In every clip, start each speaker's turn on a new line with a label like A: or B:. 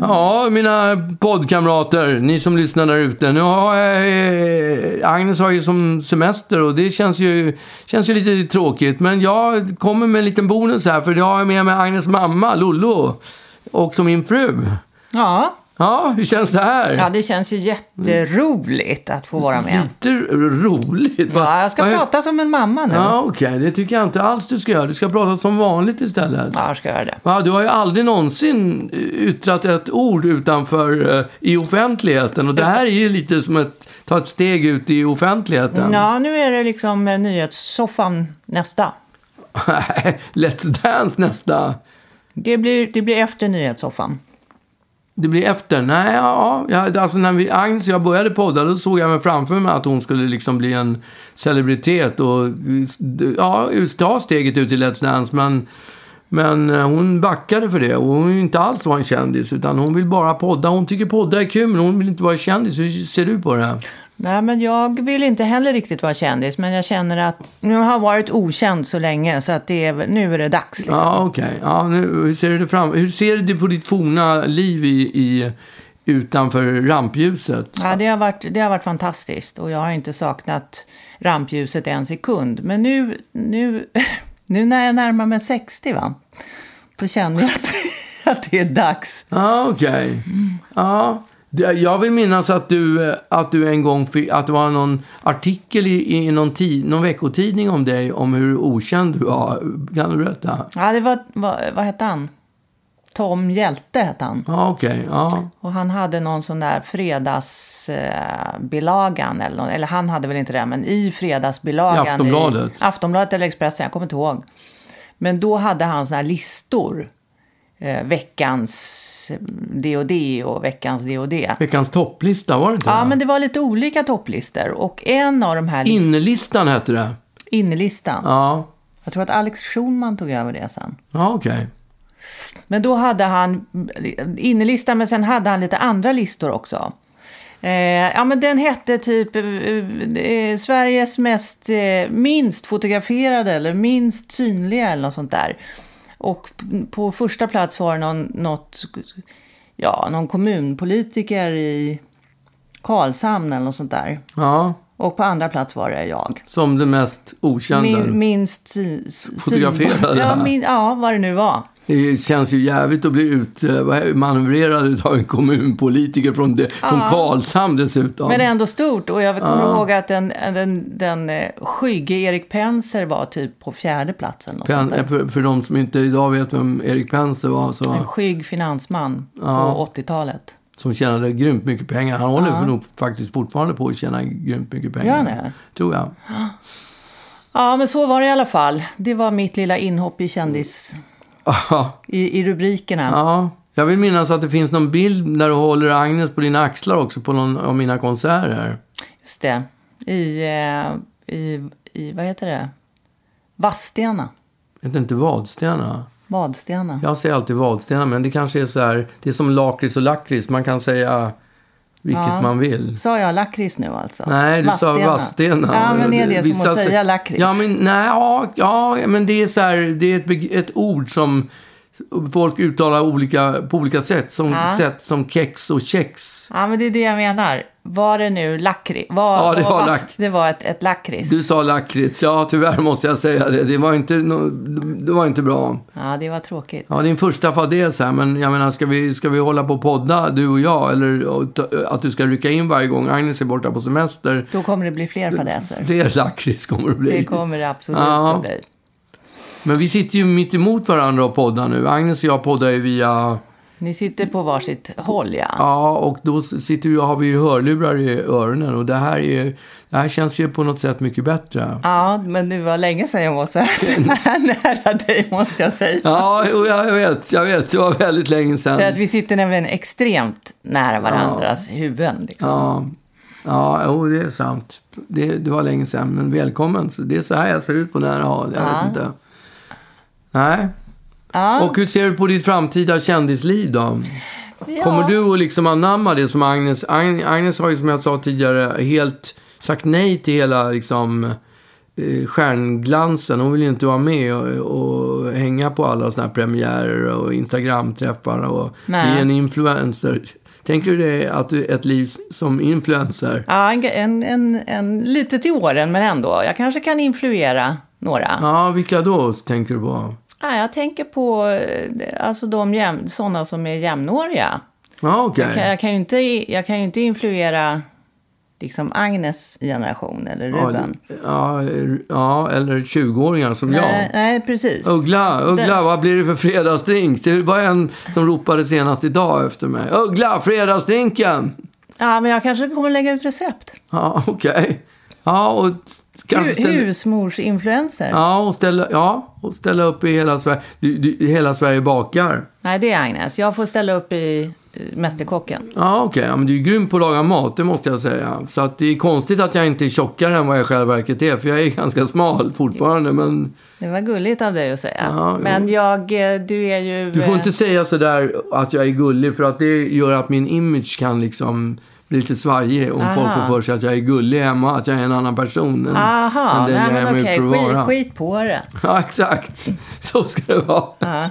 A: Ja, mina poddkamrater, ni som lyssnar där ute. Nu har jag, eh, Agnes har ju som semester och det känns ju, känns ju lite tråkigt. Men jag kommer med en liten bonus här, för jag har med mig Agnes mamma, Lollo, och som min fru.
B: Ja.
A: Ja, hur känns det här?
B: ja, det känns ju jätteroligt att få vara med.
A: Lite roligt. va?
B: Ja, jag ska
A: Vad-
B: prata som en mamma nu.
A: Ja, okej. Det tycker jag inte alls du ska göra. Du ska prata som vanligt istället.
B: Ja, jag ska göra det.
A: Va, du har ju aldrig någonsin yttrat ett ord utanför eh, i offentligheten. Och det här är ju lite som att ta ett steg ut i offentligheten.
B: Ja, nu är det liksom eh, nyhetssoffan nästa.
A: Let's Dance nästa.
B: Det blir, det blir efter nyhetssoffan.
A: Det blir efter. Nej, ja, ja, alltså när vi, Agnes och jag började podda då såg jag mig framför mig att hon skulle liksom bli en celebritet och ja, ta steget ut i Let's Dance. Men, men eh, hon backade för det och hon vill inte alls vara en kändis utan hon vill bara podda. Hon tycker podda är kul men hon vill inte vara kändis. Hur ser du på det? här?
B: Nej, men jag vill inte heller riktigt vara kändis, men jag känner att nu har jag varit okänd så länge så att det är, nu är det dags. Liksom.
A: Ja, okej. Ja, nu, hur, ser du fram, hur ser du på ditt forna liv i, i, utanför rampljuset?
B: Ja, det, har varit, det har varit fantastiskt och jag har inte saknat rampljuset en sekund. Men nu, nu, nu när jag närmar mig 60, va? då känner jag att, att det är dags.
A: Ja, okej. Ja. Det- Jag vill minnas att du, eh, att du en gång fick, att det var någon artikel i, i någon, tid, någon veckotidning om dig, om hur okänd du var. Kan du berätta?
B: Ja, det var, vad, vad hette han? Tom Hjälte hette han.
A: Ja, okej. Ja.
B: Och han hade någon sån där fredagsbilagan, eh, bilagan eller, nå- eller han hade väl inte det, men i fredagsbilagan.
A: I Aftonbladet.
B: I Aftonbladet eller Expressen, jag kommer inte ihåg. Men då hade han såna här listor. Eh, veckans eh, det och det och veckans det och det.
A: Veckans topplista, var det inte
B: Ja,
A: det?
B: men det var lite olika topplistor. Och en av de här list-
A: Innelistan hette det.
B: inlistan,
A: Ja,
B: jag tror att Alex Schulman tog över det sen.
A: ja okej.
B: Men då hade han innerlista, men sen hade han lite andra listor också. Eh, ja, men den hette typ eh, eh, Sveriges mest, eh, minst fotograferade eller minst synliga eller något sånt där. Och p- på första plats var det någon, något, ja, någon kommunpolitiker i Karlshamn eller något sånt där.
A: Ja,
B: Och på andra plats var det jag.
A: som den mest okända.
B: Min, minst sy, sy-
A: Fotograferade.
B: Ja, min, ja, vad det nu var.
A: Det känns ju jävligt att bli ut, eh, vad är- manövrerad av en kommunpolitiker från, det, från Karlshamn dessutom.
B: Men ändå stort. Och jag kommer ihåg att den, den, den eh, skygge Erik Penser var typ på fjärde platsen. alltså. Och sånt
A: Pen, eh,
B: där.
A: för, för de som inte idag vet vem Erik Penser var, så,
B: En skygg finansman på 80-talet.
A: som tjänade grymt mycket pengar. Han håller för nog faktiskt fortfarande på att tjäna grymt mycket pengar.
B: Gör han det?
A: Tror jag.
B: Ja, men så var det i alla fall. Det var mitt lilla inhopp i kändis... I, i rubrikerna.
A: Ja. Jag vill minnas att det finns någon bild när du håller Agnes på dina axlar också på någon av mina konserter.
B: Just det. I, eh, i, i... Vad heter det? Vadstena.
A: Heter inte Vadstena?
B: Vadstena.
A: Jag säger alltid Vadstena, men det kanske är så här, det är som lakrits och lakrits. Man kan säga vilket man vill.
B: Sa jag lakrits nu alltså?
A: Nej, du sa Vadstena.
B: Ja, men är det som
A: Vissa
B: att
A: sä-
B: säga lakrits?
A: Ja, men nej, ja, ja, men det är så här, det är ett, beg- ett ord som folk uttalar olika, på olika sätt. Som, sätt som kex och kex.
B: Ja, men det är det jag menar. Var det nu lakrits? Var,
A: Ja, det var
B: fast-
A: lack-
B: Det var ett, ett lakrits.
A: Du sa lakrits, ja tyvärr måste jag säga det. Det var inte, nå- det var inte bra.
B: Ja, det var tråkigt.
A: Ja, din första fadäs här, men jag menar, ska vi, ska vi hålla på och podda, du och jag? Eller och ta- att du ska rycka in varje gång Agnes är borta på semester?
B: Då kommer det bli fler fadäser.
A: Fler lakrits kommer det bli.
B: Det kommer det absolut
A: Ja.
B: att bli.
A: Men vi sitter ju mitt emot varandra och poddar nu. Agnes och jag poddar ju via...
B: Ni sitter på varsitt håll, ja.
A: Ja, och då sitter vi, har vi ju hörlurar i öronen och det här, är, det här känns ju på något sätt mycket bättre.
B: Ja, men det var länge sedan jag var så här, så här nära dig, måste jag säga.
A: Ja, jo, jag vet, jag vet. Det var väldigt länge
B: För
A: sedan.
B: att vi sitter nämligen extremt nära varandras huvuden. Liksom.
A: Ja, ja jo, det är sant. Det, det var länge sedan, men välkommen. Så det är så här jag ser ut på nära håll. Jag vet inte. Nej.
B: Ja.
A: Och hur ser du på ditt framtida kändisliv då?
B: Ja.
A: Kommer du att liksom anamma det som Agnes... Ag- Agnes har ju som jag sa tidigare helt sagt nej till hela liksom eh, stjärnglansen. Hon vill ju inte vara med och, och hänga på alla såna här premiärer och Instagramträffar och
B: Nej.
A: bli en influencer. Tänker du dig att du, ett liv som influencer?
B: Ja, en, en, en, en, lite till åren, men ändå. Jag kanske kan influera några.
A: Ja, vilka då tänker du på?
B: Ja, jag tänker på eh, alltså de jäm, sådana som är jämnåriga.
A: Ja, okej.
B: Kan- Jag kan ju inte, jag kan ju inte influera liksom Agnes generation eller
A: Ja,
B: Ruben.
A: det- Ja, ja, eller 20-åringar som
B: nej, nej, precis.
A: jag. Uggla, Uggla, vad blir det för fredagsdrink? Det var en som ropade senast idag efter mig. Uggla, fredagsdrinken!
B: Ja, men jag kanske kommer lägga ut recept.
A: Ja, okej. Ja, och t- kanske
B: Hu-
A: ställa,
B: Husmorsinfluencer.
A: Alltså, ja, och ställa, ja, och ställa upp i hela Sverige. Du, du, hela Sverige bakar.
B: Nej, det är Agnes. Jag får ställa upp i eh, Mästerkocken.
A: Ja, okej. Ja, men du är grym på att laga mat, det måste jag säga. Så att det är konstigt att jag inte är tjockare än vad jag i själva verket är. För jag är ganska smal fortfarande, men...
B: Det var gulligt av dig att säga.
A: Ja, jo.
B: men jag, eh, du är ju...
A: Du får
B: eh,
A: inte säga sådär att jag är gullig för att det gör att min image kan liksom bli lite svajig om
B: Aha.
A: folk får för sig att jag är gullig hemma, att jag är en annan person än,
B: Aha,
A: än den
B: nej
A: jag är
B: men
A: med
B: okej.
A: för att vara.
B: Skit, skit på det.
A: Ja, exakt. Så ska det vara.
B: Ja.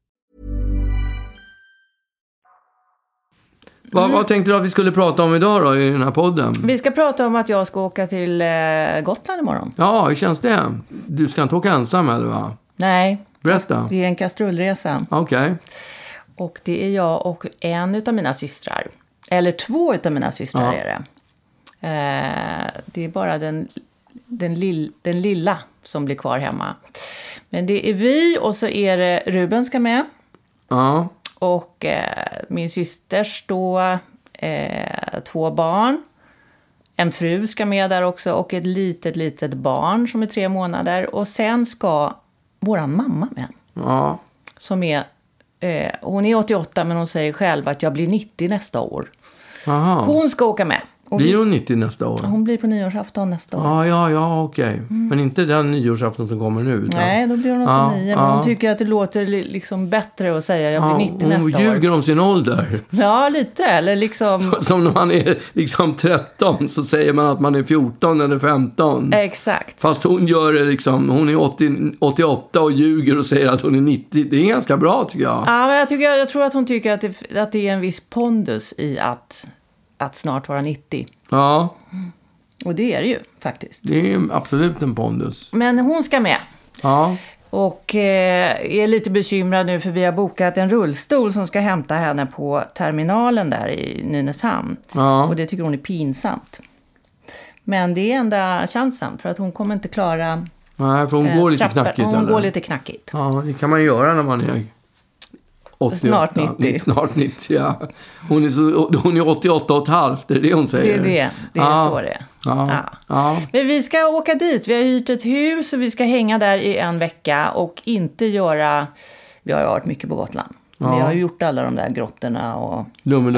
A: Vad, vad tänkte du att vi skulle prata om idag då i den här podden?
B: Mm. Vi ska prata om att jag ska åka till eh, Gotland imorgon.
A: Ja, hur känns det? Du ska inte åka ensam eller va?
B: Nej,
A: Berätta.
B: det är en kastrullresa.
A: Okej.
B: Och det är jag och en utav mina systrar. Eller två utav mina
A: Ja.
B: systrar är det. Eh, det är bara den, den, lill, den lilla som blir kvar hemma. Men det är vi och så är det Ruben ska med.
A: Ja.
B: Och eh, min systers då eh, två barn. En fru ska med där också och ett litet, litet barn som är tre månader. Och sen ska våran mamma med
A: Ja.
B: som är... Eh, hon är 88, men hon säger själv att jag blir 90 nästa år.
A: Jaha.
B: Hon ska åka med. Och vi,
A: Blir hon 90 nästa år?
B: hon blir på nyårsafton nästa år.
A: Ja, ja, ja, okej.
B: Mm.
A: Men inte den nyårsafton som kommer nu? utan-
B: Nej, då blir hon 89.
A: Ja,
B: men
A: ja.
B: hon tycker att det låter li- liksom bättre att säga jag
A: Ja,
B: blir 90 nästa
A: Hon ljuger
B: år.
A: om sin ålder.
B: Ja, lite. Eller liksom...
A: Som när man är liksom 13 så säger man att man är 14 eller 15.
B: Eh. Exakt.
A: Fast hon gör det liksom, hon är 80, 88 och ljuger och säger att hon är 90. Det är ganska bra tycker jag.
B: Ja, men jag, tycker, jag tror att hon tycker att det, att det är en viss pondus i att, att snart vara 90.
A: Ja,
B: Och det är det ju faktiskt.
A: det är absolut en pondus.
B: Men hon ska med.
A: Ja,
B: Och eh, är lite bekymrad nu för vi har bokat en rullstol som ska hämta henne på terminalen där i Nynäshamn.
A: ja.
B: Och det tycker hon är pinsamt. Men det är enda chansen för att hon kommer inte klara
A: Nej, för hon
B: eh,
A: går lite
B: trappor.
A: knackigt
B: Hon
A: eller?
B: går lite knackigt.
A: Ja, det kan man göra när man är 88.
B: Snart 90.
A: Snart 90, ja. Hon är, så, hon är 88 och ett halvt, det är det hon
B: Det är
A: säger.
B: det. Det är
A: ja.
B: så det är.
A: Ja.
B: Ja.
A: Ja.
B: Men vi ska åka dit. Vi har hyrt ett hus och vi ska hänga där i en vecka och inte göra... Vi har ju varit mycket på Gotland. Vi har ju gjort alla de där grottorna och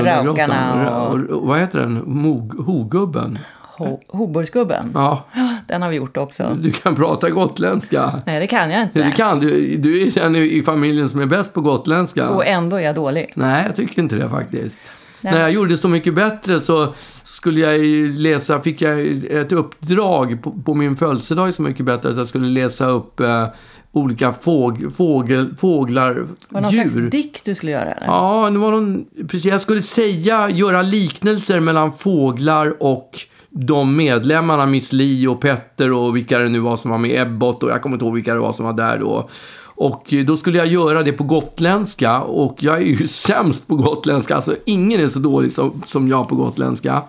A: Lummelundagrottan.
B: raukarna och
A: Och... och- Vad heter den? Mog, hogubben?
B: Ho- Hoburgsgubben.
A: Ja,
B: Den har vi gjort också.
A: du kan prata gotländska.
B: Nej, det kan jag inte.
A: Du kan, du, du är den i i familjen som är bäst på gotländska.
B: Och ändå är jag dålig.
A: Nej, jag tycker inte det faktiskt.
B: Nej.
A: När jag gjorde Så mycket bättre så skulle jag ju läsa, fick jag ett uppdrag på, på min födelsedag i Så mycket bättre att jag skulle läsa upp eh, olika fåg, fågel, fåglar,
B: Var det någon
A: djur.
B: slags dikt du skulle göra eller?
A: Ja, det var någon, precis, jag skulle säga, göra liknelser mellan fåglar och de medlemmarna, Miss Li och Petter och vilka det nu var som var med, Ebbot och jag kommer inte ihåg vilka det var som var där då. Och eh, då skulle jag göra det på gotländska och jag är ju sämst på gotländska. Alltså ingen är så dålig som, som jag på gotländska.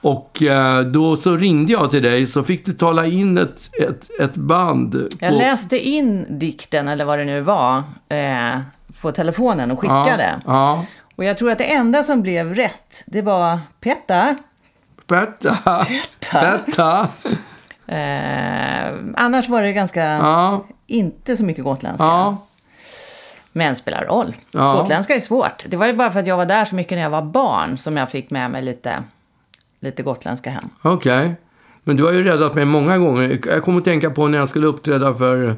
A: Och eh, då så ringde jag till dig så fick du tala in ett, ett, ett band.
B: Jag
A: på-
B: läste in dikten, eller vad det nu var, eh, på telefonen och skickade.
A: Ja,
B: Och jag tror att det enda som blev rätt, det var Petta.
A: ja. Petta. Petta.
B: Eh, annars var det ganska,
A: Ja,
B: inte så mycket gotländska.
A: ja.
B: Men spelar roll.
A: Ja.
B: Gotländska är svårt. Det var ju bara för att jag var där så mycket när jag var barn som jag fick med mig lite, lite gotländska hem.
A: Okej. Men du har ju räddat mig många gånger. Jag kommer att tänka på när jag skulle uppträda för,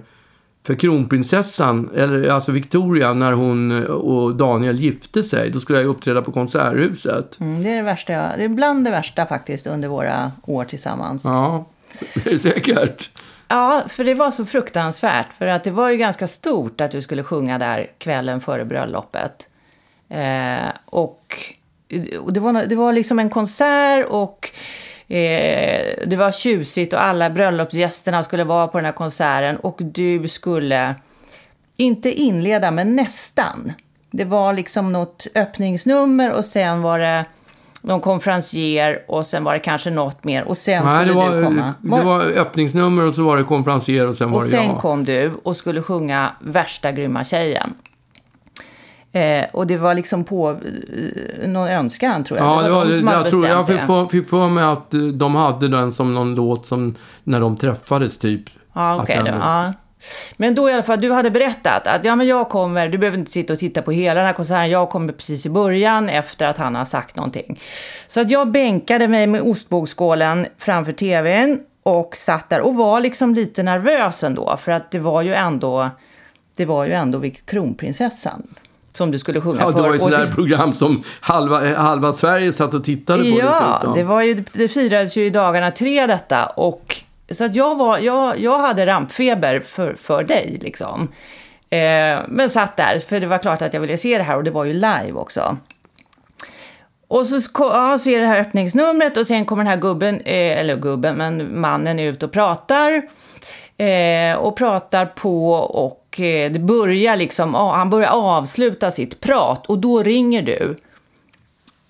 A: för kronprinsessan, eller alltså Victoria, när hon och Daniel gifte sig. Då skulle jag ju uppträda på Konserthuset.
B: Mm, det är det värsta jag, det är bland det värsta faktiskt under våra år tillsammans.
A: Ja, det är säkert.
B: Ja, för det var så fruktansvärt. För att det var ju ganska stort att du skulle sjunga där kvällen före bröllopet. Eh, och och det, var, det var liksom en konsert och eh, det var tjusigt och alla bröllopsgästerna skulle vara på den här konserten. Och du skulle, inte inleda, men nästan. Det var liksom något öppningsnummer och sen var det någon konferencier och sen var det kanske något mer och sen
A: Nej, det
B: skulle
A: var,
B: du komma. Var-
A: det var öppningsnummer och så var det konferencier och sen var
B: och
A: det
B: sen
A: jag.
B: kom du och skulle sjunga Värsta grymma tjejen. Eh, och det var liksom på eh, någon önskan, tror jag.
A: Ja, det var,
B: de som hade
A: jag, tror, jag
B: bestämt
A: fick
B: det.
A: för, fick för mig att eh, de hade den som någon låt som när de träffades typ.
B: Ja,
A: Att
B: okej.
A: den-
B: det- ja. Men då i alla fall, du hade berättat att ja, men jag kommer, du behöver inte sitta och titta på hela den här konserten, jag kommer precis i början efter att han har sagt någonting. Så att jag bänkade mig med ostbågsskålen framför tvn och satt där och var liksom lite nervös ändå, för att det var ju ändå, det var ju ändå vilk- kronprinsessan som du skulle sjunga
A: Ja,
B: för.
A: det var ju
B: Och
A: sådana där program som halva, eh, halva Sverige satt och tittade på
B: Ja,
A: dessutom.
B: det, var ju, det firades ju i dagarna tre detta. Och, så att jag, var, jag, jag hade rampfeber för, för dig. Liksom. Eh, men satt där, för det var klart att jag ville se det här och det var ju live också. Och så, sk- ja, så är det här öppningsnumret och sen kommer den här gubben, eh, eller gubben, men mannen ut och pratar. Eh, och pratar på och eh, det börjar liksom, ja, han börjar avsluta sitt prat och då ringer du.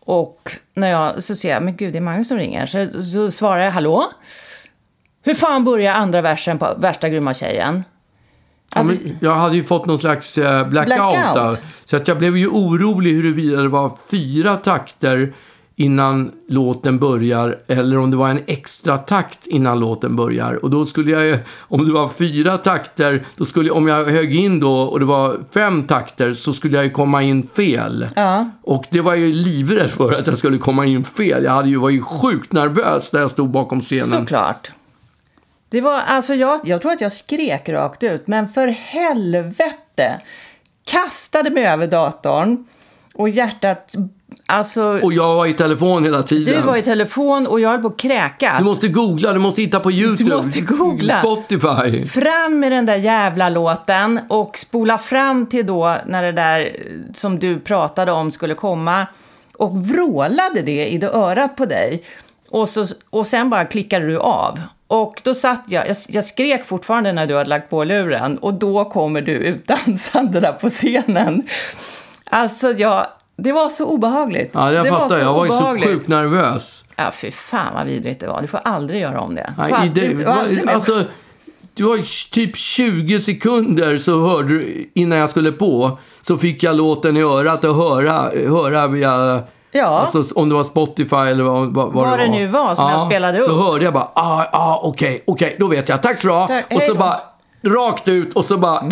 B: Och när jag, så ser jag, men gud det är Magnus som ringer. Så, så svarar jag, hallå? Hur fan börjar andra versen på Värsta grymma tjejen?
A: Ja,
B: Alltså,
A: men jag hade ju fått någon slags eh, blackout,
B: Blackout.
A: Där, så att jag blev ju orolig huruvida det var fyra takter innan låten börjar eller om det var en extra takt innan låten börjar. Och då skulle jag ju, om det var fyra takter, då skulle, om jag högg in då och det var fem takter så skulle jag ju komma in fel. Och det var jag ju livrädd för att jag skulle komma in fel. Jag hade ju, var ju sjukt nervös när jag stod bakom scenen.
B: Såklart. Det var, alltså jag, jag tror att jag skrek rakt ut, men för helvete! Kastade mig över datorn och hjärtat... Alltså,
A: Och jag var i telefon hela tiden.
B: du var i telefon och jag höll på att kräkas.
A: Du måste googla, du måste hitta på YouTube.
B: måste googla.
A: Spotify.
B: Fram med den där jävla låten och spola fram till då när det där eh, som du pratade om skulle komma och vrålade det i det örat på dig. Och, så, och sen bara klickade du av. Och då satt jag, jag, jag skrek fortfarande när du hade lagt på luren och då kommer du utdansande där på scenen. Alltså, jag, det var så obehagligt.
A: Ja, jag
B: det
A: fattar. jag var ju så
B: obehagligt.
A: sjukt nervös.
B: Ja, fy fan vad vidrigt det var. Du får aldrig göra om det.
A: Nej,
B: Får
A: i det,
B: aldrig- får aldrig mer-
A: alltså, det var ju typ 20 sekunder så hörde du, innan jag skulle på, så fick jag låten i örat och höra, höra via
B: Ja.
A: Alltså om det var Spotify eller vad, vad, vad
B: Vad det nu var som jag spelade upp.
A: Så hörde jag bara, ah, ah, okej, okej, då vet jag. Tack så
B: Tack,
A: Och
B: hej
A: så
B: då.
A: bara rakt ut och så bara en,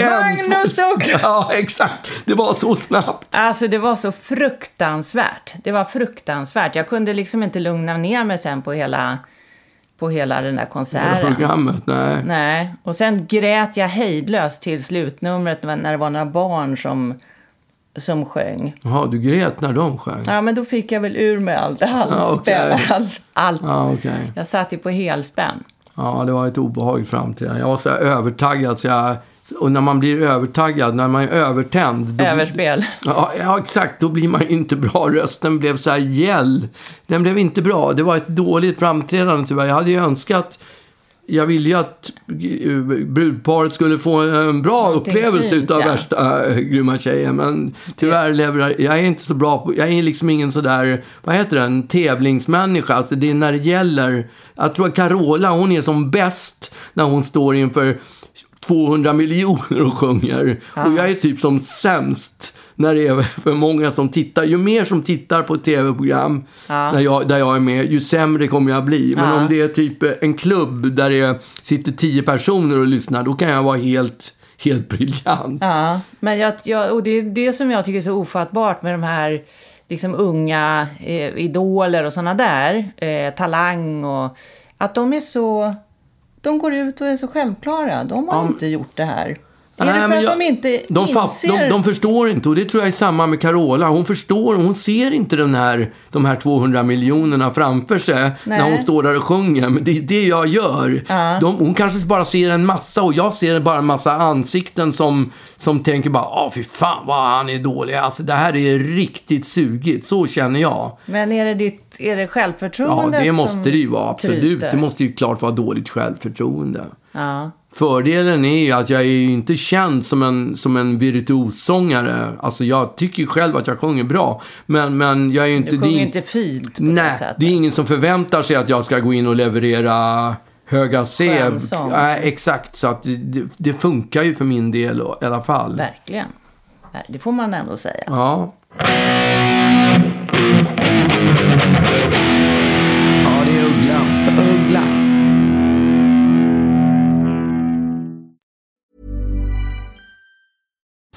B: Magnus
A: två-
B: Uggla.
A: Ja, exakt. Det var så snabbt.
B: Alltså det var så fruktansvärt. Det var fruktansvärt. Jag kunde liksom inte lugna ner mig sen på hela, på hela den där konserten.
A: Programmet, nej.
B: Nej, och sen grät jag hejdlöst till slutnumret när det var några barn som, som sjöng.
A: Jaha, du grät när de sjöng?
B: Ja, men då fick jag väl ur mig allt,
A: Ja,
B: halsspänn,
A: okej.
B: all, allt.
A: Ja, okej.
B: Jag satt ju på helspänn.
A: Ja, det var ett obehagligt framtida. Jag var så här övertaggad så jag Och när man blir övertaggad, när man är övertänd. då blir-
B: Överspel.
A: Ja, ja, exakt. Då blir man ju inte bra. Rösten blev så här gäll. Den blev inte bra. Det var ett dåligt framträdande tyvärr. Jag hade ju önskat... Jag ville ju att eh, brudparet skulle få en bra upplevelse
B: fint,
A: utav
B: ja.
A: värsta äh, grymma tjejen. Men tyvärr levererar... Jag är inte så bra på... Jag är liksom ingen så där... Vad heter den? Tävlingsmänniska. Alltså det är när det gäller... Jag tror att Carola, hon är som bäst när hon står inför 200 miljoner och sjunger. Och jag är typ som sämst när det är för många som tittar. Ju mer som tittar på ett tv-program när jag, där jag är med, ju sämre kommer jag bli. Men om det är typ en klubb där det sitter tio personer och lyssnar, då kan jag vara helt, helt briljant.
B: Ja, men jag, jag, och det är det som jag tycker är så ofattbart med de här liksom unga eh, idoler och såna där, eh, Talang och... Att de är så... De går ut och är så självklara. De har inte gjort det här. Är
A: Nej,
B: det för
A: men
B: att
A: jag-
B: de inte
A: de fatt-
B: inser...
A: de, de förstår inte och det tror jag är samma med Carola. Hon förstår, hon ser inte den här, de här 200 miljonerna framför sig
B: Nej.
A: när hon står där och sjunger. Men det är det jag gör. De, hon kanske bara ser en massa och jag ser bara en massa ansikten som, som tänker bara, ah fy fan vad han är dålig. Alltså det här är riktigt sugigt, så känner jag.
B: Men är det, ditt, är det
A: Ja,
B: självförtroendet
A: det måste
B: som
A: det ju vara, absolut.
B: tryter?
A: Det måste ju klart vara dåligt självförtroende.
B: Ja.
A: Fördelen är ju att jag är ju inte känd som en, som en virtuossångare. Alltså jag tycker ju själv att jag sjunger bra. Men, men jag är ju inte...
B: Du sjunger
A: det är-
B: inte fint på det
A: Nej,
B: sättet.
A: det är ingen som förväntar sig att jag ska gå in och leverera höga C.
B: Skönsång.
A: Nej, exakt. Så att det- det, det funkar ju för min del i alla fall.
B: Verkligen. Nej, Det får man ändå säga.
A: Ja. Ja, det är Uggla.
B: Uggla.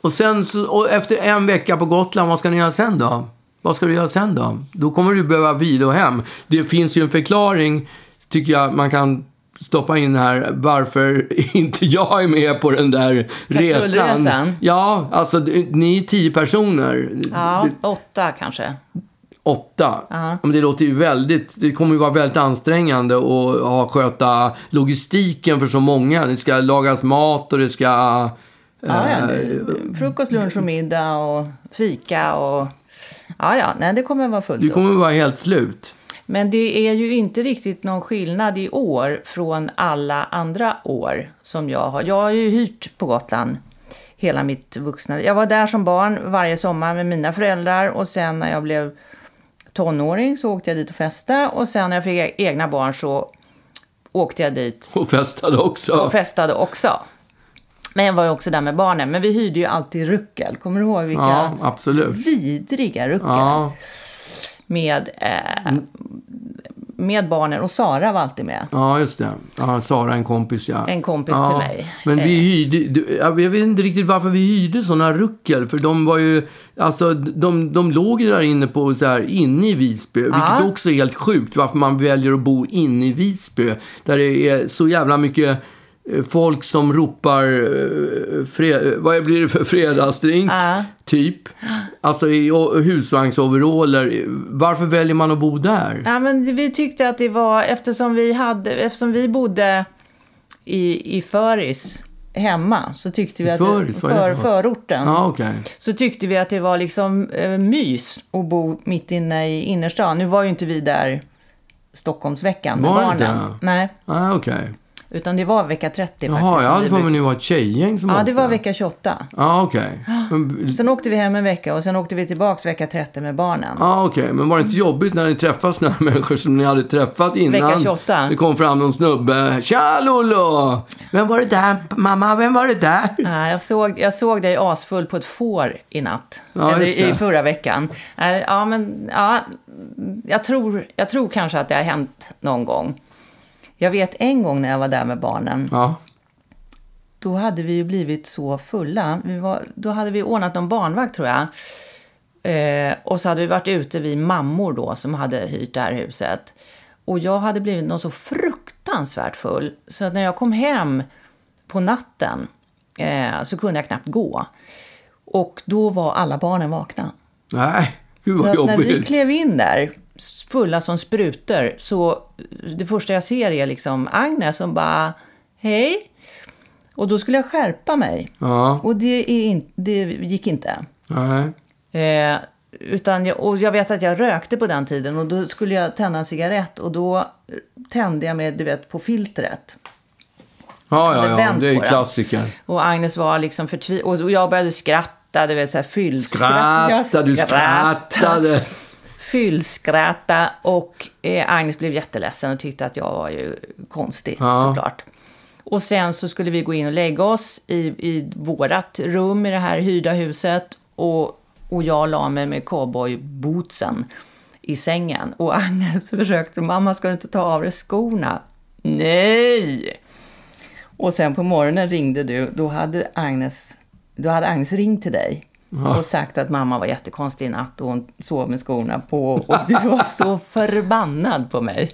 A: Och sen så, och efter en vecka på Gotland, vad ska ni göra sen då? Vad ska du göra sen då? Då kommer du behöva vila och hem. Det finns ju en förklaring, tycker jag, man kan stoppa in här varför inte jag är med på den där
B: Kastrullresan.
A: resan. Ja, alltså det- ni är tio personer.
B: Ja,
A: Det-
B: åtta kanske.
A: åtta. Ja, Men det låter ju väldigt, det kommer ju vara väldigt ansträngande att ha, sköta logistiken för så många. Det ska lagas mat och det ska...
B: Ja, ja. det- Frukost, lunch och middag och fika och... Ja, ja. Nej, det kommer vara fullt
A: Du
B: upp.
A: kommer vara helt slut.
B: Men det är ju inte riktigt någon skillnad i år från alla andra år som jag har. Jag har ju hyrt på Gotland hela mitt vuxna Jag var där som barn varje sommar med mina föräldrar och sen när jag blev tonåring så åkte jag dit och festade och sen när jag fick e-, egna barn så åkte jag dit
A: Och festade också.
B: och festade också. Men jag var ju också där med barnen. Men vi hyrde ju alltid ruckel. Kommer du ihåg vilka
A: Ja, absolut.
B: vidriga ruckel?
A: Ja,
B: Med, eh, med barnen. Och Sara var alltid med.
A: ja, just det. Ja, Sara, en kompis, ja.
B: En kompis
A: ja.
B: till mig. Eh.
A: Men vi hyrde, du, jag vet inte riktigt varför vi hyrde sådana ruckel. För de var ju, alltså de, de låg ju där inne på, så här, inne i Visby. Vilket också är helt sjukt, varför man väljer att bo inne i Visby. Där det är så jävla mycket eh, folk som ropar eh, fre- vad blir det för fredagsdrink, typ. Alltså i o- husvagnsoverall. Varför väljer man att bo där?
B: Ja, men vi tyckte att det var, eftersom vi, hade, eftersom vi bodde i, i Föris hemma, så tyckte vi att
A: Föris?
B: det,
A: Vad är det
B: för,
A: för-
B: förorten.
A: Ja, okej.
B: Så tyckte vi att det var liksom eh, mys att bo mitt inne i innerstan. Nu var ju inte vi där Stockholmsveckan med
A: Var det
B: barnen.
A: inte?
B: Nej,
A: Ah, okej.
B: utan det var vecka 30
A: Jaha,
B: faktiskt.
A: jag
B: som vi
A: hade för mig
B: brukade-
A: nu var ett tjejgäng som
B: Ja,
A: åkte.
B: det var vecka 28.
A: Ja, okej. Men-
B: Sen åkte vi hem en vecka och sen åkte vi tillbaks vecka 30 med barnen.
A: Ja, ah, okej. Men var det inte jobbigt när ni träffade såna här människor som ni hade träffat innan?
B: Vecka 28.
A: Det kom fram någon snubbe. Tja, Lollo! Vem var det där? Mamma, vem var det där?
B: Nej, jag, såg, jag såg dig asfull på ett får i natt.
A: Ja,
B: eller
A: just det.
B: i förra veckan. Nej, Ja, men ja, jag, tror, jag tror kanske att det har hänt någon gång. Jag vet en gång när jag var där med barnen.
A: Ja.
B: Då hade vi ju blivit så fulla. Vi var, då hade vi ordnat någon barnvakt tror jag. Eh, och så hade vi varit ute, vi mammor då, som hade hyrt det här huset. Och jag hade blivit någon så fruktansvärt full. Så att när jag kom hem på natten eh, så kunde jag knappt gå. Och då var alla barnen vakna.
A: Nej, gud
B: Så
A: vad
B: att när vi
A: jobbigt.
B: klev in där, s- fulla som sprutor, så eh, det första jag ser är liksom Agnes som bara hej. Och då skulle jag skärpa mig.
A: Ja,
B: Och det, är in, det gick inte.
A: nej.
B: Eh, utan jag, och jag vet att jag rökte på den tiden och då skulle jag tända en cigarett och då eh, tände jag med, du vet, på filtret.
A: Ja, ja,
B: hade
A: ja. Det
B: vänt på
A: är
B: den.
A: klassiker.
B: Och Agnes var liksom förtvivlad och jag började skratta, du vet, så här fyllskratt. Jag
A: Skratta, du skrattade.
B: fyllskratta och eh, Agnes blev jätteledsen och tyckte att jag var ju konstig såklart. Och sen så skulle vi gå in och lägga oss i, i vårat rum i det här hyrda huset och, och jag la mig med cowboybootsen i sängen och Agnes försökte, mamma ska du inte ta av dig skorna? Nej! Och sen på morgonen ringde du, då hade Agnes, då hade Agnes ringt till dig och sagt att mamma var jättekonstig i natt och hon sov med skorna på och du var så förbannad på mig.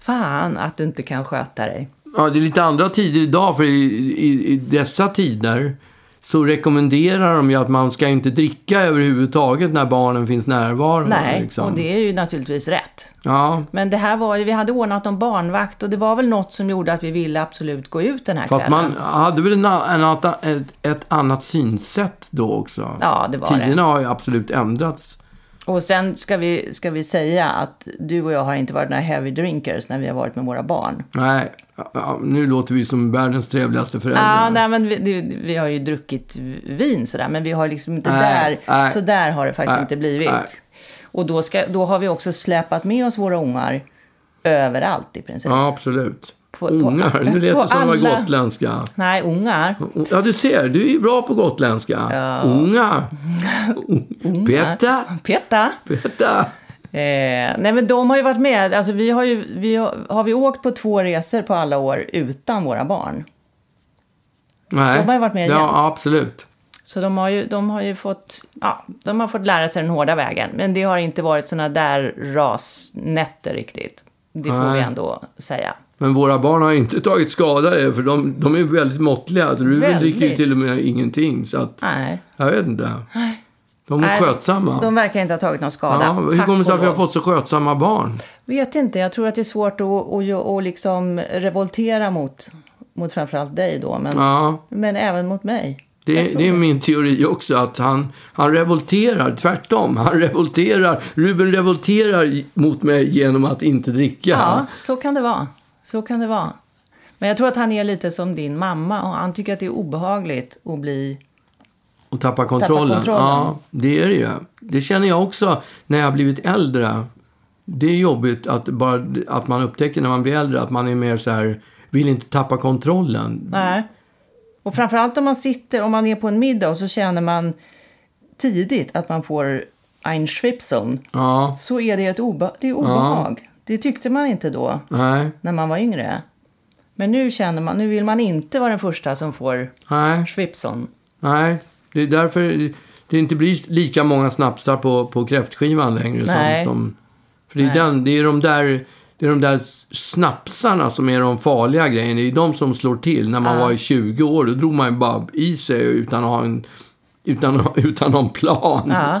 B: Fan att du inte kan sköta dig.
A: Ja, det är lite andra tider idag, för i, i, i dessa tider så rekommenderar de ju att man ska inte dricka överhuvudtaget när barnen finns närvarande.
B: Nej,
A: liksom.
B: och det är ju naturligtvis rätt.
A: Ja,
B: Men det här var ju, vi hade ordnat om barnvakt och det var väl något som gjorde att vi ville absolut gå ut den här
A: Fast
B: kvällen.
A: man hade väl en, en, ett, ett annat synsätt då också?
B: Ja, det var det.
A: Tiderna har ju absolut ändrats.
B: Och sen ska vi, ska vi säga att du och jag har inte varit några heavy drinkers när vi har varit med våra barn.
A: Nej, ja, nu låter vi som världens trevligaste föräldrar.
B: Ja, nej, men vi, det, vi har ju druckit vin sådär, men vi har liksom inte
A: Nej,
B: där,
A: nej.
B: så där har det faktiskt
A: Nej,
B: inte blivit.
A: nej.
B: Och då, ska, då har vi också släpat med oss våra ungar överallt i princip.
A: Ja, absolut.
B: På- på-
A: Ungar, nu lät
B: på
A: det som alla...
B: alla-
A: gotländska.
B: Nej, ungar.
A: Ja, du ser, du är ju bra på gotländska. Ungar. Peta,
B: Peta.
A: peta.
B: Eh, nej, men de har ju varit med. Alltså, vi har, ju, vi har, har vi åkt på två resor på alla år utan våra barn?
A: Nej.
B: De har ju varit med jämt.
A: Ja, absolut.
B: Så de har ju, de har ju fått, ja, de har fått lära sig den hårda vägen. Men det har inte varit såna där rasnätter riktigt. Det får vi
A: Nej.
B: ändå säga.
A: Men våra barn har inte tagit skada av det, för de, de är väldigt måttliga. Ruben
B: Väldigt.
A: dricker ju till och med ingenting, så att...
B: Nej.
A: Jag vet inte. De är
B: Nej,
A: skötsamma.
B: De verkar inte ha tagit någon skada.
A: ja, hur
B: Tack
A: kommer det sig
B: och
A: att vi har
B: lov.
A: fått så skötsamma barn?
B: Vet inte, jag tror att det är svårt att, att, att, att liksom revoltera mot, mot framförallt dig då, men,
A: Ja,
B: men även mot mig.
A: det, det är min teori också, att han, han revolterar. Tvärtom, han revolterar. Ruben revolterar i- mot mig genom att inte dricka.
B: Ja, så kan det vara. Så kan det vara. Men jag tror att han är lite som din mamma och han tycker att det är obehagligt att bli...
A: Och tappar kontrollen.
B: kontrollen.
A: Ja, det är det ju. Det känner jag också när jag har blivit äldre. Det är jobbigt att, bara, att man upptäcker när man blir äldre att man är mer så här, vill inte tappa kontrollen.
B: Nej. Och framförallt om man sitter, om man är på en middag och så känner man tidigt att man får ein Schwipseln,
A: Ja,
B: så är det ett obe- det är obehag. Det tyckte man inte då.
A: nej,
B: när man var yngre. Men nu känner man, nu vill man inte vara den första som får
A: nej.
B: Schwipson.
A: Nej, det är därför det inte blir lika många snapsar på, på kräftskivan längre.
B: Nej.
A: Som, som, för det är, den, det är de där det är de där snapsarna som är de farliga grejerna. Det är de som slår till. När man var i 20 år, då drog man ju bara i sig utan att ha en, utan, utan någon plan.
B: Ja.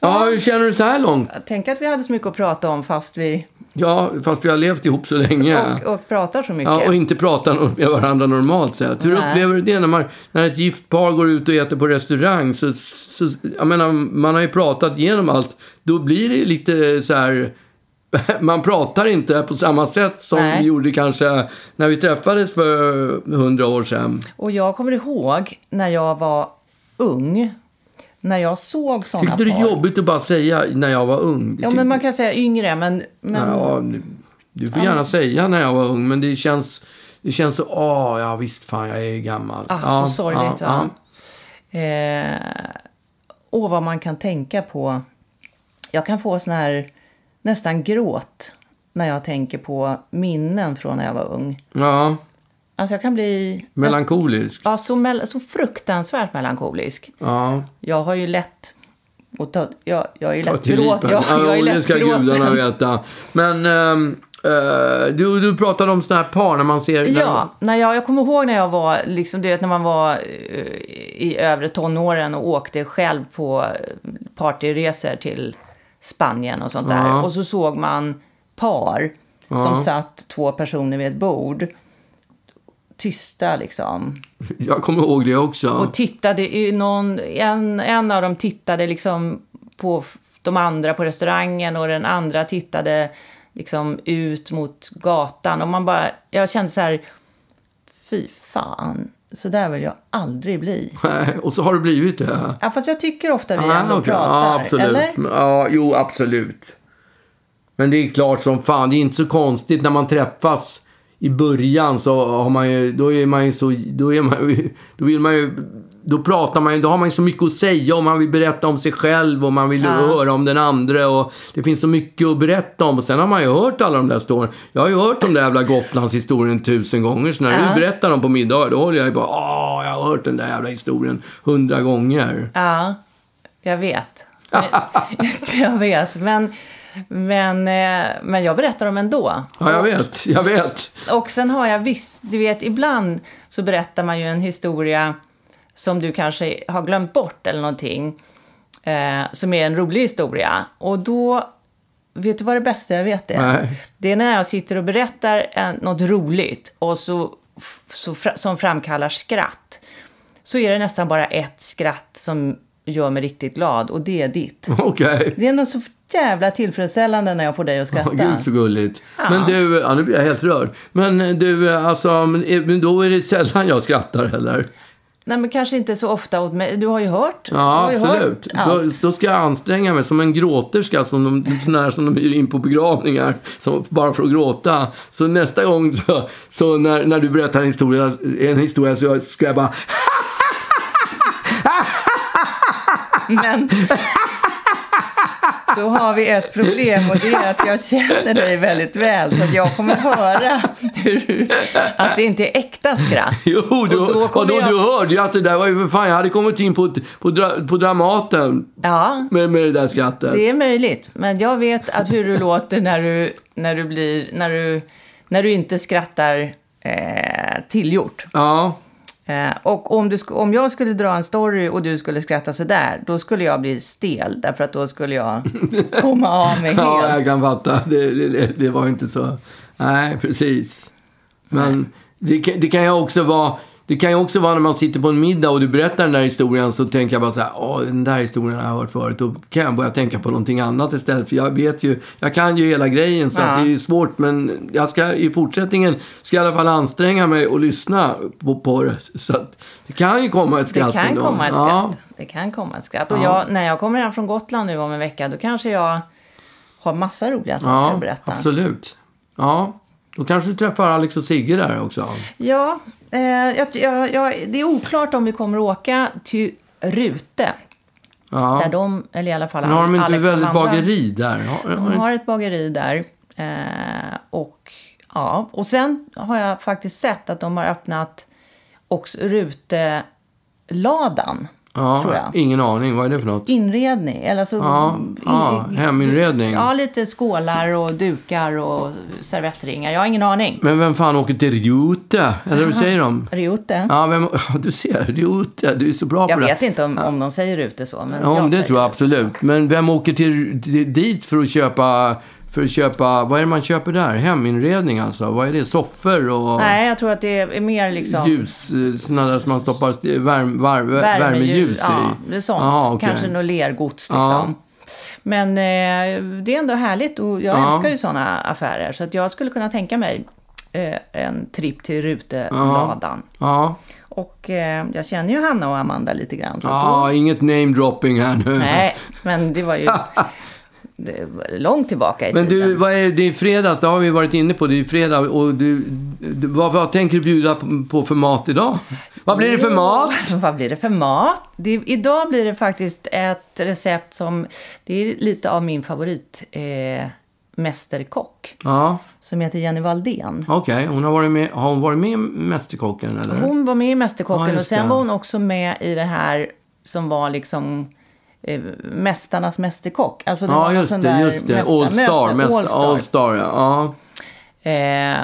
A: Ja, hur känner du så här långt?
B: Tänk att vi hade så mycket att prata om fast vi
A: Ja, fast vi har levt ihop så länge.
B: och, och pratar så mycket.
A: Ja, och inte pratar no- med varandra normalt sett. Hur upplever du det när, man, när ett gift par går ut och äter på restaurang? Så, så, jag menar, man har ju pratat igenom allt. Då blir det ju lite så här... Man pratar inte på samma sätt som
B: Nej.
A: vi gjorde kanske när vi träffades för hundra år sedan.
B: Och jag kommer ihåg när jag var ung, när jag såg sådana
A: Tyckte du det
B: par.
A: är jobbigt att bara säga när jag var ung?
B: Ja, men man kan säga yngre, men... men
A: Ja, nu- du får gärna säga när jag var ung, men det känns, det känns så... Åh, ja visst fan, jag är gammal.
B: ah,
A: ja,
B: så sorgligt,
A: ja,
B: va?
A: ja.
B: Eh, och vad man kan tänka på. Jag kan få sån här nästan gråt när jag tänker på minnen från när jag var ung.
A: Ja,
B: Alltså jag kan bli...
A: melankolisk.
B: Ja, så, mel- så fruktansvärt melankolisk.
A: Ja,
B: Jag har ju lätt... Och ta, jag, jag är ju
A: ta
B: lätt
A: till
B: gråt.
A: lipen.
B: Jag, jag är
A: Ja, det
B: lätt
A: ska gudarna
B: gråten.
A: veta. Men ehm, eh, du, du pratade om sådana här par när man ser...
B: Ja, när jag, jag kommer ihåg när jag var, liksom, du vet när man var eh, i övre tonåren och åkte själv på eh, partyresor till Spanien och sånt där. Och så såg man par som satt två personer vid ett bord. Tysta liksom.
A: Jag kommer ihåg det också.
B: Och tittade, i någon, en, en av dem tittade liksom på f- de andra på restaurangen och den andra tittade liksom ut mot gatan. Och man bara, jag kände så här, fy fan, så där vill jag aldrig bli.
A: Och så har det blivit det.
B: Ja, fast jag tycker ofta vi ändå
A: Ah, okej.
B: pratar,
A: ja, absolut. Mm.
B: eller?
A: Ja, jo, absolut. Men det är klart som fan, det är inte så konstigt när man träffas i början så har man ju, då är man ju så, då är man ju, då vill man ju, då pratar man ju, då har man ju så mycket att säga och man vill berätta om sig själv och man vill höra om den andra och det finns så mycket att berätta om och sen har man ju hört alla de där storyn. Jag har ju hört de där jävla Gotlandshistorien tusen gånger så när du berättar dem på middagar då håller jag ju bara, ah, jag har hört den där jävla historien hundra gånger.
B: Ja, jag vet. Men- jag vet, men, men, eh, men jag berättar dem ändå.
A: Ja, jag vet. Jag vet.
B: Och sen har jag visst, du vet ibland så berättar man ju en historia som du kanske har glömt bort eller någonting. Eh, som är en rolig historia. Och då, vet du vad det bästa jag vet är?
A: Nej.
B: Det är när jag sitter och berättar en, något roligt och så, f- så, fra- som framkallar skratt. Så är det nästan bara ett skratt som gör mig riktigt glad och det är ditt.
A: Okej.
B: Det är något så jävla tillfredsställande när jag får dig att
A: Ja,
B: skratta.
A: Gud, så gulligt.
B: Ja.
A: Men du, ja, nu blir jag helt rörd. Men du, alltså, men är- men då är det sällan jag skrattar heller.
B: Nej, men kanske inte så ofta åt mig. Du har ju hört. du
A: Ja,
B: har ju
A: absolut.
B: Hört
A: Då,
B: allt.
A: då ska jag anstränga mig som en gråterska, som de, sån här som de hyr in på begravningar, som, bara för att gråta. Så nästa gång, så, så när, när du berättar en historia, en historia så ska jag bara...
B: Men då har vi ett problem och det är att jag känner dig väldigt väl. Så att jag kommer höra hur, att det inte är äkta skratt.
A: Jo, du,
B: Och då kommer
A: och då,
B: jag-
A: du hörde ju att det där var ju för fan, jag hade kommit in på, ett- på, dra, på Dramaten
B: Ja,
A: med, med det där skrattet.
B: det är möjligt. Men jag vet att hur du låter när du, när du, blir, när du, när du inte skrattar eh, tillgjort.
A: Ja.
B: Eh, och om, du, sk- om jag skulle dra en story och du skulle skratta så där, då skulle jag bli stel. Därför att då skulle jag komma av mig helt.
A: Ja, jag kan fatta. Det, det, det var inte så... Nej, precis. Men det, kan- det kan ju också vara... Det kan ju också vara när man sitter på en middag och du berättar den där historien så tänker jag bara så här, åh, den där historien har jag hört förut. Då kan jag börja tänka på någonting annat istället. För jag vet ju, jag kan ju hela grejen så att det är ju svårt. Men jag ska i fortsättningen, ska jag i alla fall anstränga mig och lyssna på, på det. Så att det kan ju komma ett
B: Det
A: skratt
B: kan
A: ändå.
B: komma ett
A: Ja.
B: skratt. Det kan komma ett skratt. Och jag, när jag kommer hem från Gotland nu om en vecka, då kanske jag har massa roliga saker att berätta.
A: Absolut. Ja, då kanske du träffar Alex och Sigge där också.
B: Ja, eh, jag, jag, jag, det är oklart om vi kommer att åka till Rute. Där
A: Ja.
B: de, eller i alla fall
A: Men har de inte
B: Alex och
A: väldigt
B: Amanda-
A: bageri där? Har, har
B: De
A: inte-
B: har ett bageri där. Eh, och, ja. och sen har jag faktiskt sett att de har öppnat också Rute-ladan,
A: ja,
B: tror jag.
A: Ingen aning, vad är det för något?
B: Inredning, eller så...
A: Ja, ja, heminredning.
B: Ja, lite skålar och dukar och servettringar. Jag har ingen aning.
A: Men vem fan åker till Rute? Eller hur säger de?
B: Rute?
A: Ja, vem, ja, du ser, Rute, du är så bra
B: jag
A: på det.
B: vet inte om, om de säger Rute så, men
A: Ja,
B: jag
A: om det
B: säger
A: tror jag
B: Rute så.
A: absolut. Men vem åker till, till, dit för att köpa... För att köpa, vad är det man köper där? Heminredning alltså? Vad är det? Soffor och...
B: Nej, jag tror att det är mer liksom...
A: ljus, eh, sådana där som man stoppar st- värm, varv, värmeljus i.
B: ja, det är sånt.
A: Ja, okej.
B: Kanske något lergods
A: Ja.
B: liksom. Men eh, det är ändå härligt och jag
A: Ja.
B: älskar ju sådana affärer. Så att jag skulle kunna tänka mig eh, en tripp till Ruteladan.
A: Ja,
B: Och eh, jag känner ju Hanna och Amanda lite grann. Så att
A: ja inget namedropping här nu.
B: Nej, men det var ju det var långt tillbaka i
A: Men
B: tiden.
A: du, vad är, det är fredag, det har vi varit inne på. Det är fredag och du, du, vad, vad tänker du bjuda på- på för mat idag? Vad blir det för mat?
B: Vad blir det för mat? Det, idag blir det faktiskt ett recept som... Det är lite av min favorit eh, mästerkock
A: Ja,
B: som heter Jenny Valdén.
A: okej. Hon har varit med, har hon varit med i Mästerkocken eller?
B: Hon var med i Mästerkocken
A: Ja, just
B: och sen
A: det.
B: var hon också med i det här som var liksom eh, Mästarnas Mästerkock. Alltså det var
A: ja,
B: någon
A: just
B: sån
A: det,
B: där
A: just det. All
B: mästarmöte,
A: Star, mäster, All Star.
B: All Star.
A: ja. ja.
B: Eh,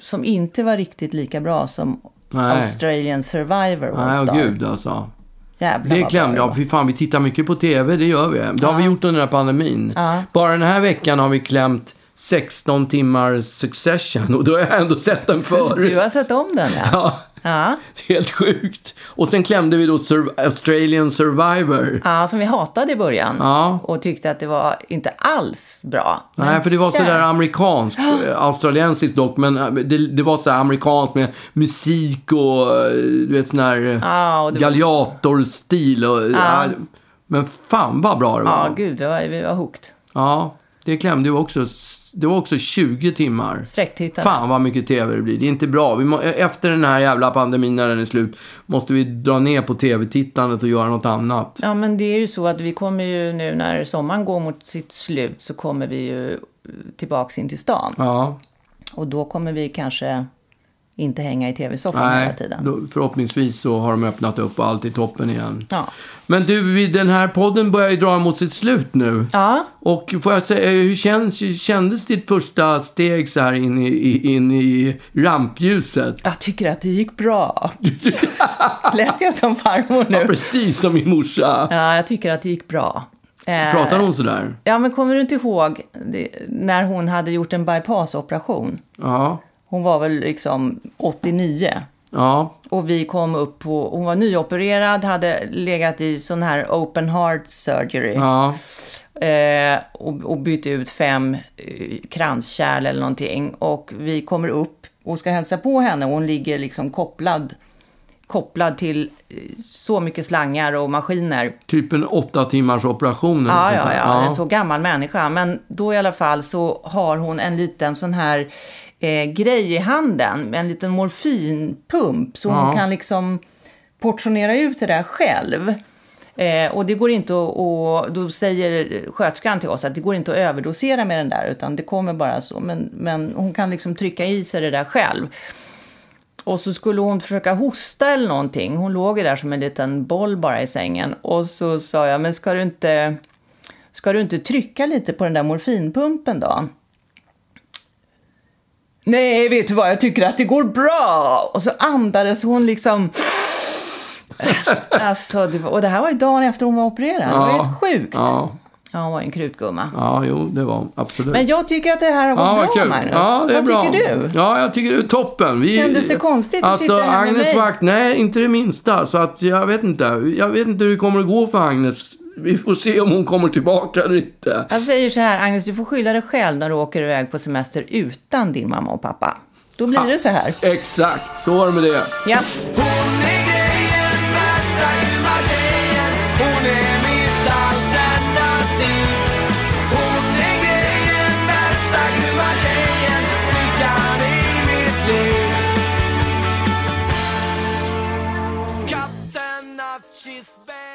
B: som inte var riktigt lika bra som
A: Nej.
B: Australian Survivor All
A: Nej,
B: Star.
A: åh gud alltså.
B: Jävlar
A: Det
B: vad
A: klämde
B: bra det
A: jag.
B: var.
A: Fy fan, vi tittar mycket på TV, det gör vi. Det har vi gjort under den här pandemin. Bara den här veckan har vi klämt 16 timmar Succession och då har jag ändå sett den förut.
B: Du har sett om den ja.
A: Ja.
B: Ja.
A: Helt sjukt. Och sen klämde vi då Sur- Australian Survivor.
B: Ja, som vi hatade i början
A: Ja.
B: och tyckte att det var inte alls bra.
A: Nej, för det var sådär amerikanskt, eh, australiensiskt dock, men eh, det, det var sådär amerikanskt med musik och eh, du vet sån här
B: Ja,
A: ah,
B: och det-
A: galliatorstil. Och, ja, Men fan vad bra det var.
B: Ja, gud, det var, vi var hooked.
A: Ja, det klämde ju också. Det var också 20 timmar.
B: Sträcktittare.
A: Fan vad mycket tv det blir. Det är inte bra. Vi må, eh, efter den här jävla pandemin när den är slut måste vi dra ner på tv-tittandet och göra något annat.
B: Ja, men det är ju så att vi kommer ju nu när sommaren går mot sitt slut så kommer vi ju tillbaks in till stan.
A: Ja,
B: Och då kommer vi kanske inte hänga i tv-soffan hela
A: nej.
B: tiden.
A: Då, förhoppningsvis så har de öppnat upp och allt är toppen igen.
B: Ja.
A: Men du, vi- den här podden börjar ju dra mot sitt slut nu.
B: Ja.
A: Och får jag säga, eh, hur känns, hur kändes ditt första steg så här in i, i- in i rampljuset?
B: Jag tycker att det gick bra. Lät jag som farmor
A: Ja,
B: nu?
A: precis som min morsa.
B: Ja, jag tycker att det gick bra. Eh,
A: Pratar hon sådär?
B: Ja, men kommer du inte ihåg det, när hon hade gjort en bypassoperation?
A: Ja.
B: Hon var väl liksom 89.
A: Ja,
B: Och vi kom upp på, hon var nyopererad, hade legat i sån här open heart surgery.
A: ja,
B: Eh, och, och bytte ut fem eh, kranskärl eller någonting. Och vi kommer upp och ska hälsa på henne. och Hon ligger liksom kopplad, kopplad till eh, så mycket slangar och maskiner.
A: typ en åtta timmars operation. eller
B: Ja,
A: sånt
B: ja,
A: där.
B: ja, en så gammal människa. Men då i alla fall så har hon en liten sån här eh, grej i handen, med en liten morfinpump. Så hon kan liksom portionera ut det där själv. Eh, och det går inte att, och då säger sköterskan till oss att det går inte att överdosera med den där, utan det kommer bara så. Men, men hon kan liksom trycka i sig det där själv. Och så skulle hon försöka hosta eller någonting. Hon låg ju där som en liten boll bara i sängen. Och så sa jag, men ska du inte, ska du inte trycka lite på den där morfinpumpen då? Nej, vet du vad, jag tycker att det går bra. Och så andades hon liksom... alltså, det var, och det här var ju dagen efter hon var opererad. Det var ju helt sjukt. Ja.
A: Ja,
B: hon var ju en krutgumma.
A: ja, jo, det var absolut.
B: Men jag tycker att det här har gått
A: Ja,
B: bra,
A: vad kul.
B: Magnus.
A: Ja, det är
B: vad
A: bra.
B: tycker du?
A: Ja, jag tycker det är toppen. Vi,
B: Kändes det konstigt att
A: alltså,
B: sitta här med
A: Agnes
B: mig?
A: Vakt, nej, inte det minsta. Så att jag vet inte. Jag vet inte hur det kommer att gå för Agnes. Vi får se om hon kommer tillbaka eller inte.
B: Jag säger så här, Agnes, du får skylla dig själv när du åker iväg på semester utan din mamma och pappa. Då blir det så här.
A: Exakt, så var det med det.
B: Ja.
C: Hon är grejen, värsta grymma tjejen Hon är mitt alternativ Hon är grejen, värsta grymma tjejen Flickan i mitt liv Katten att kiss baby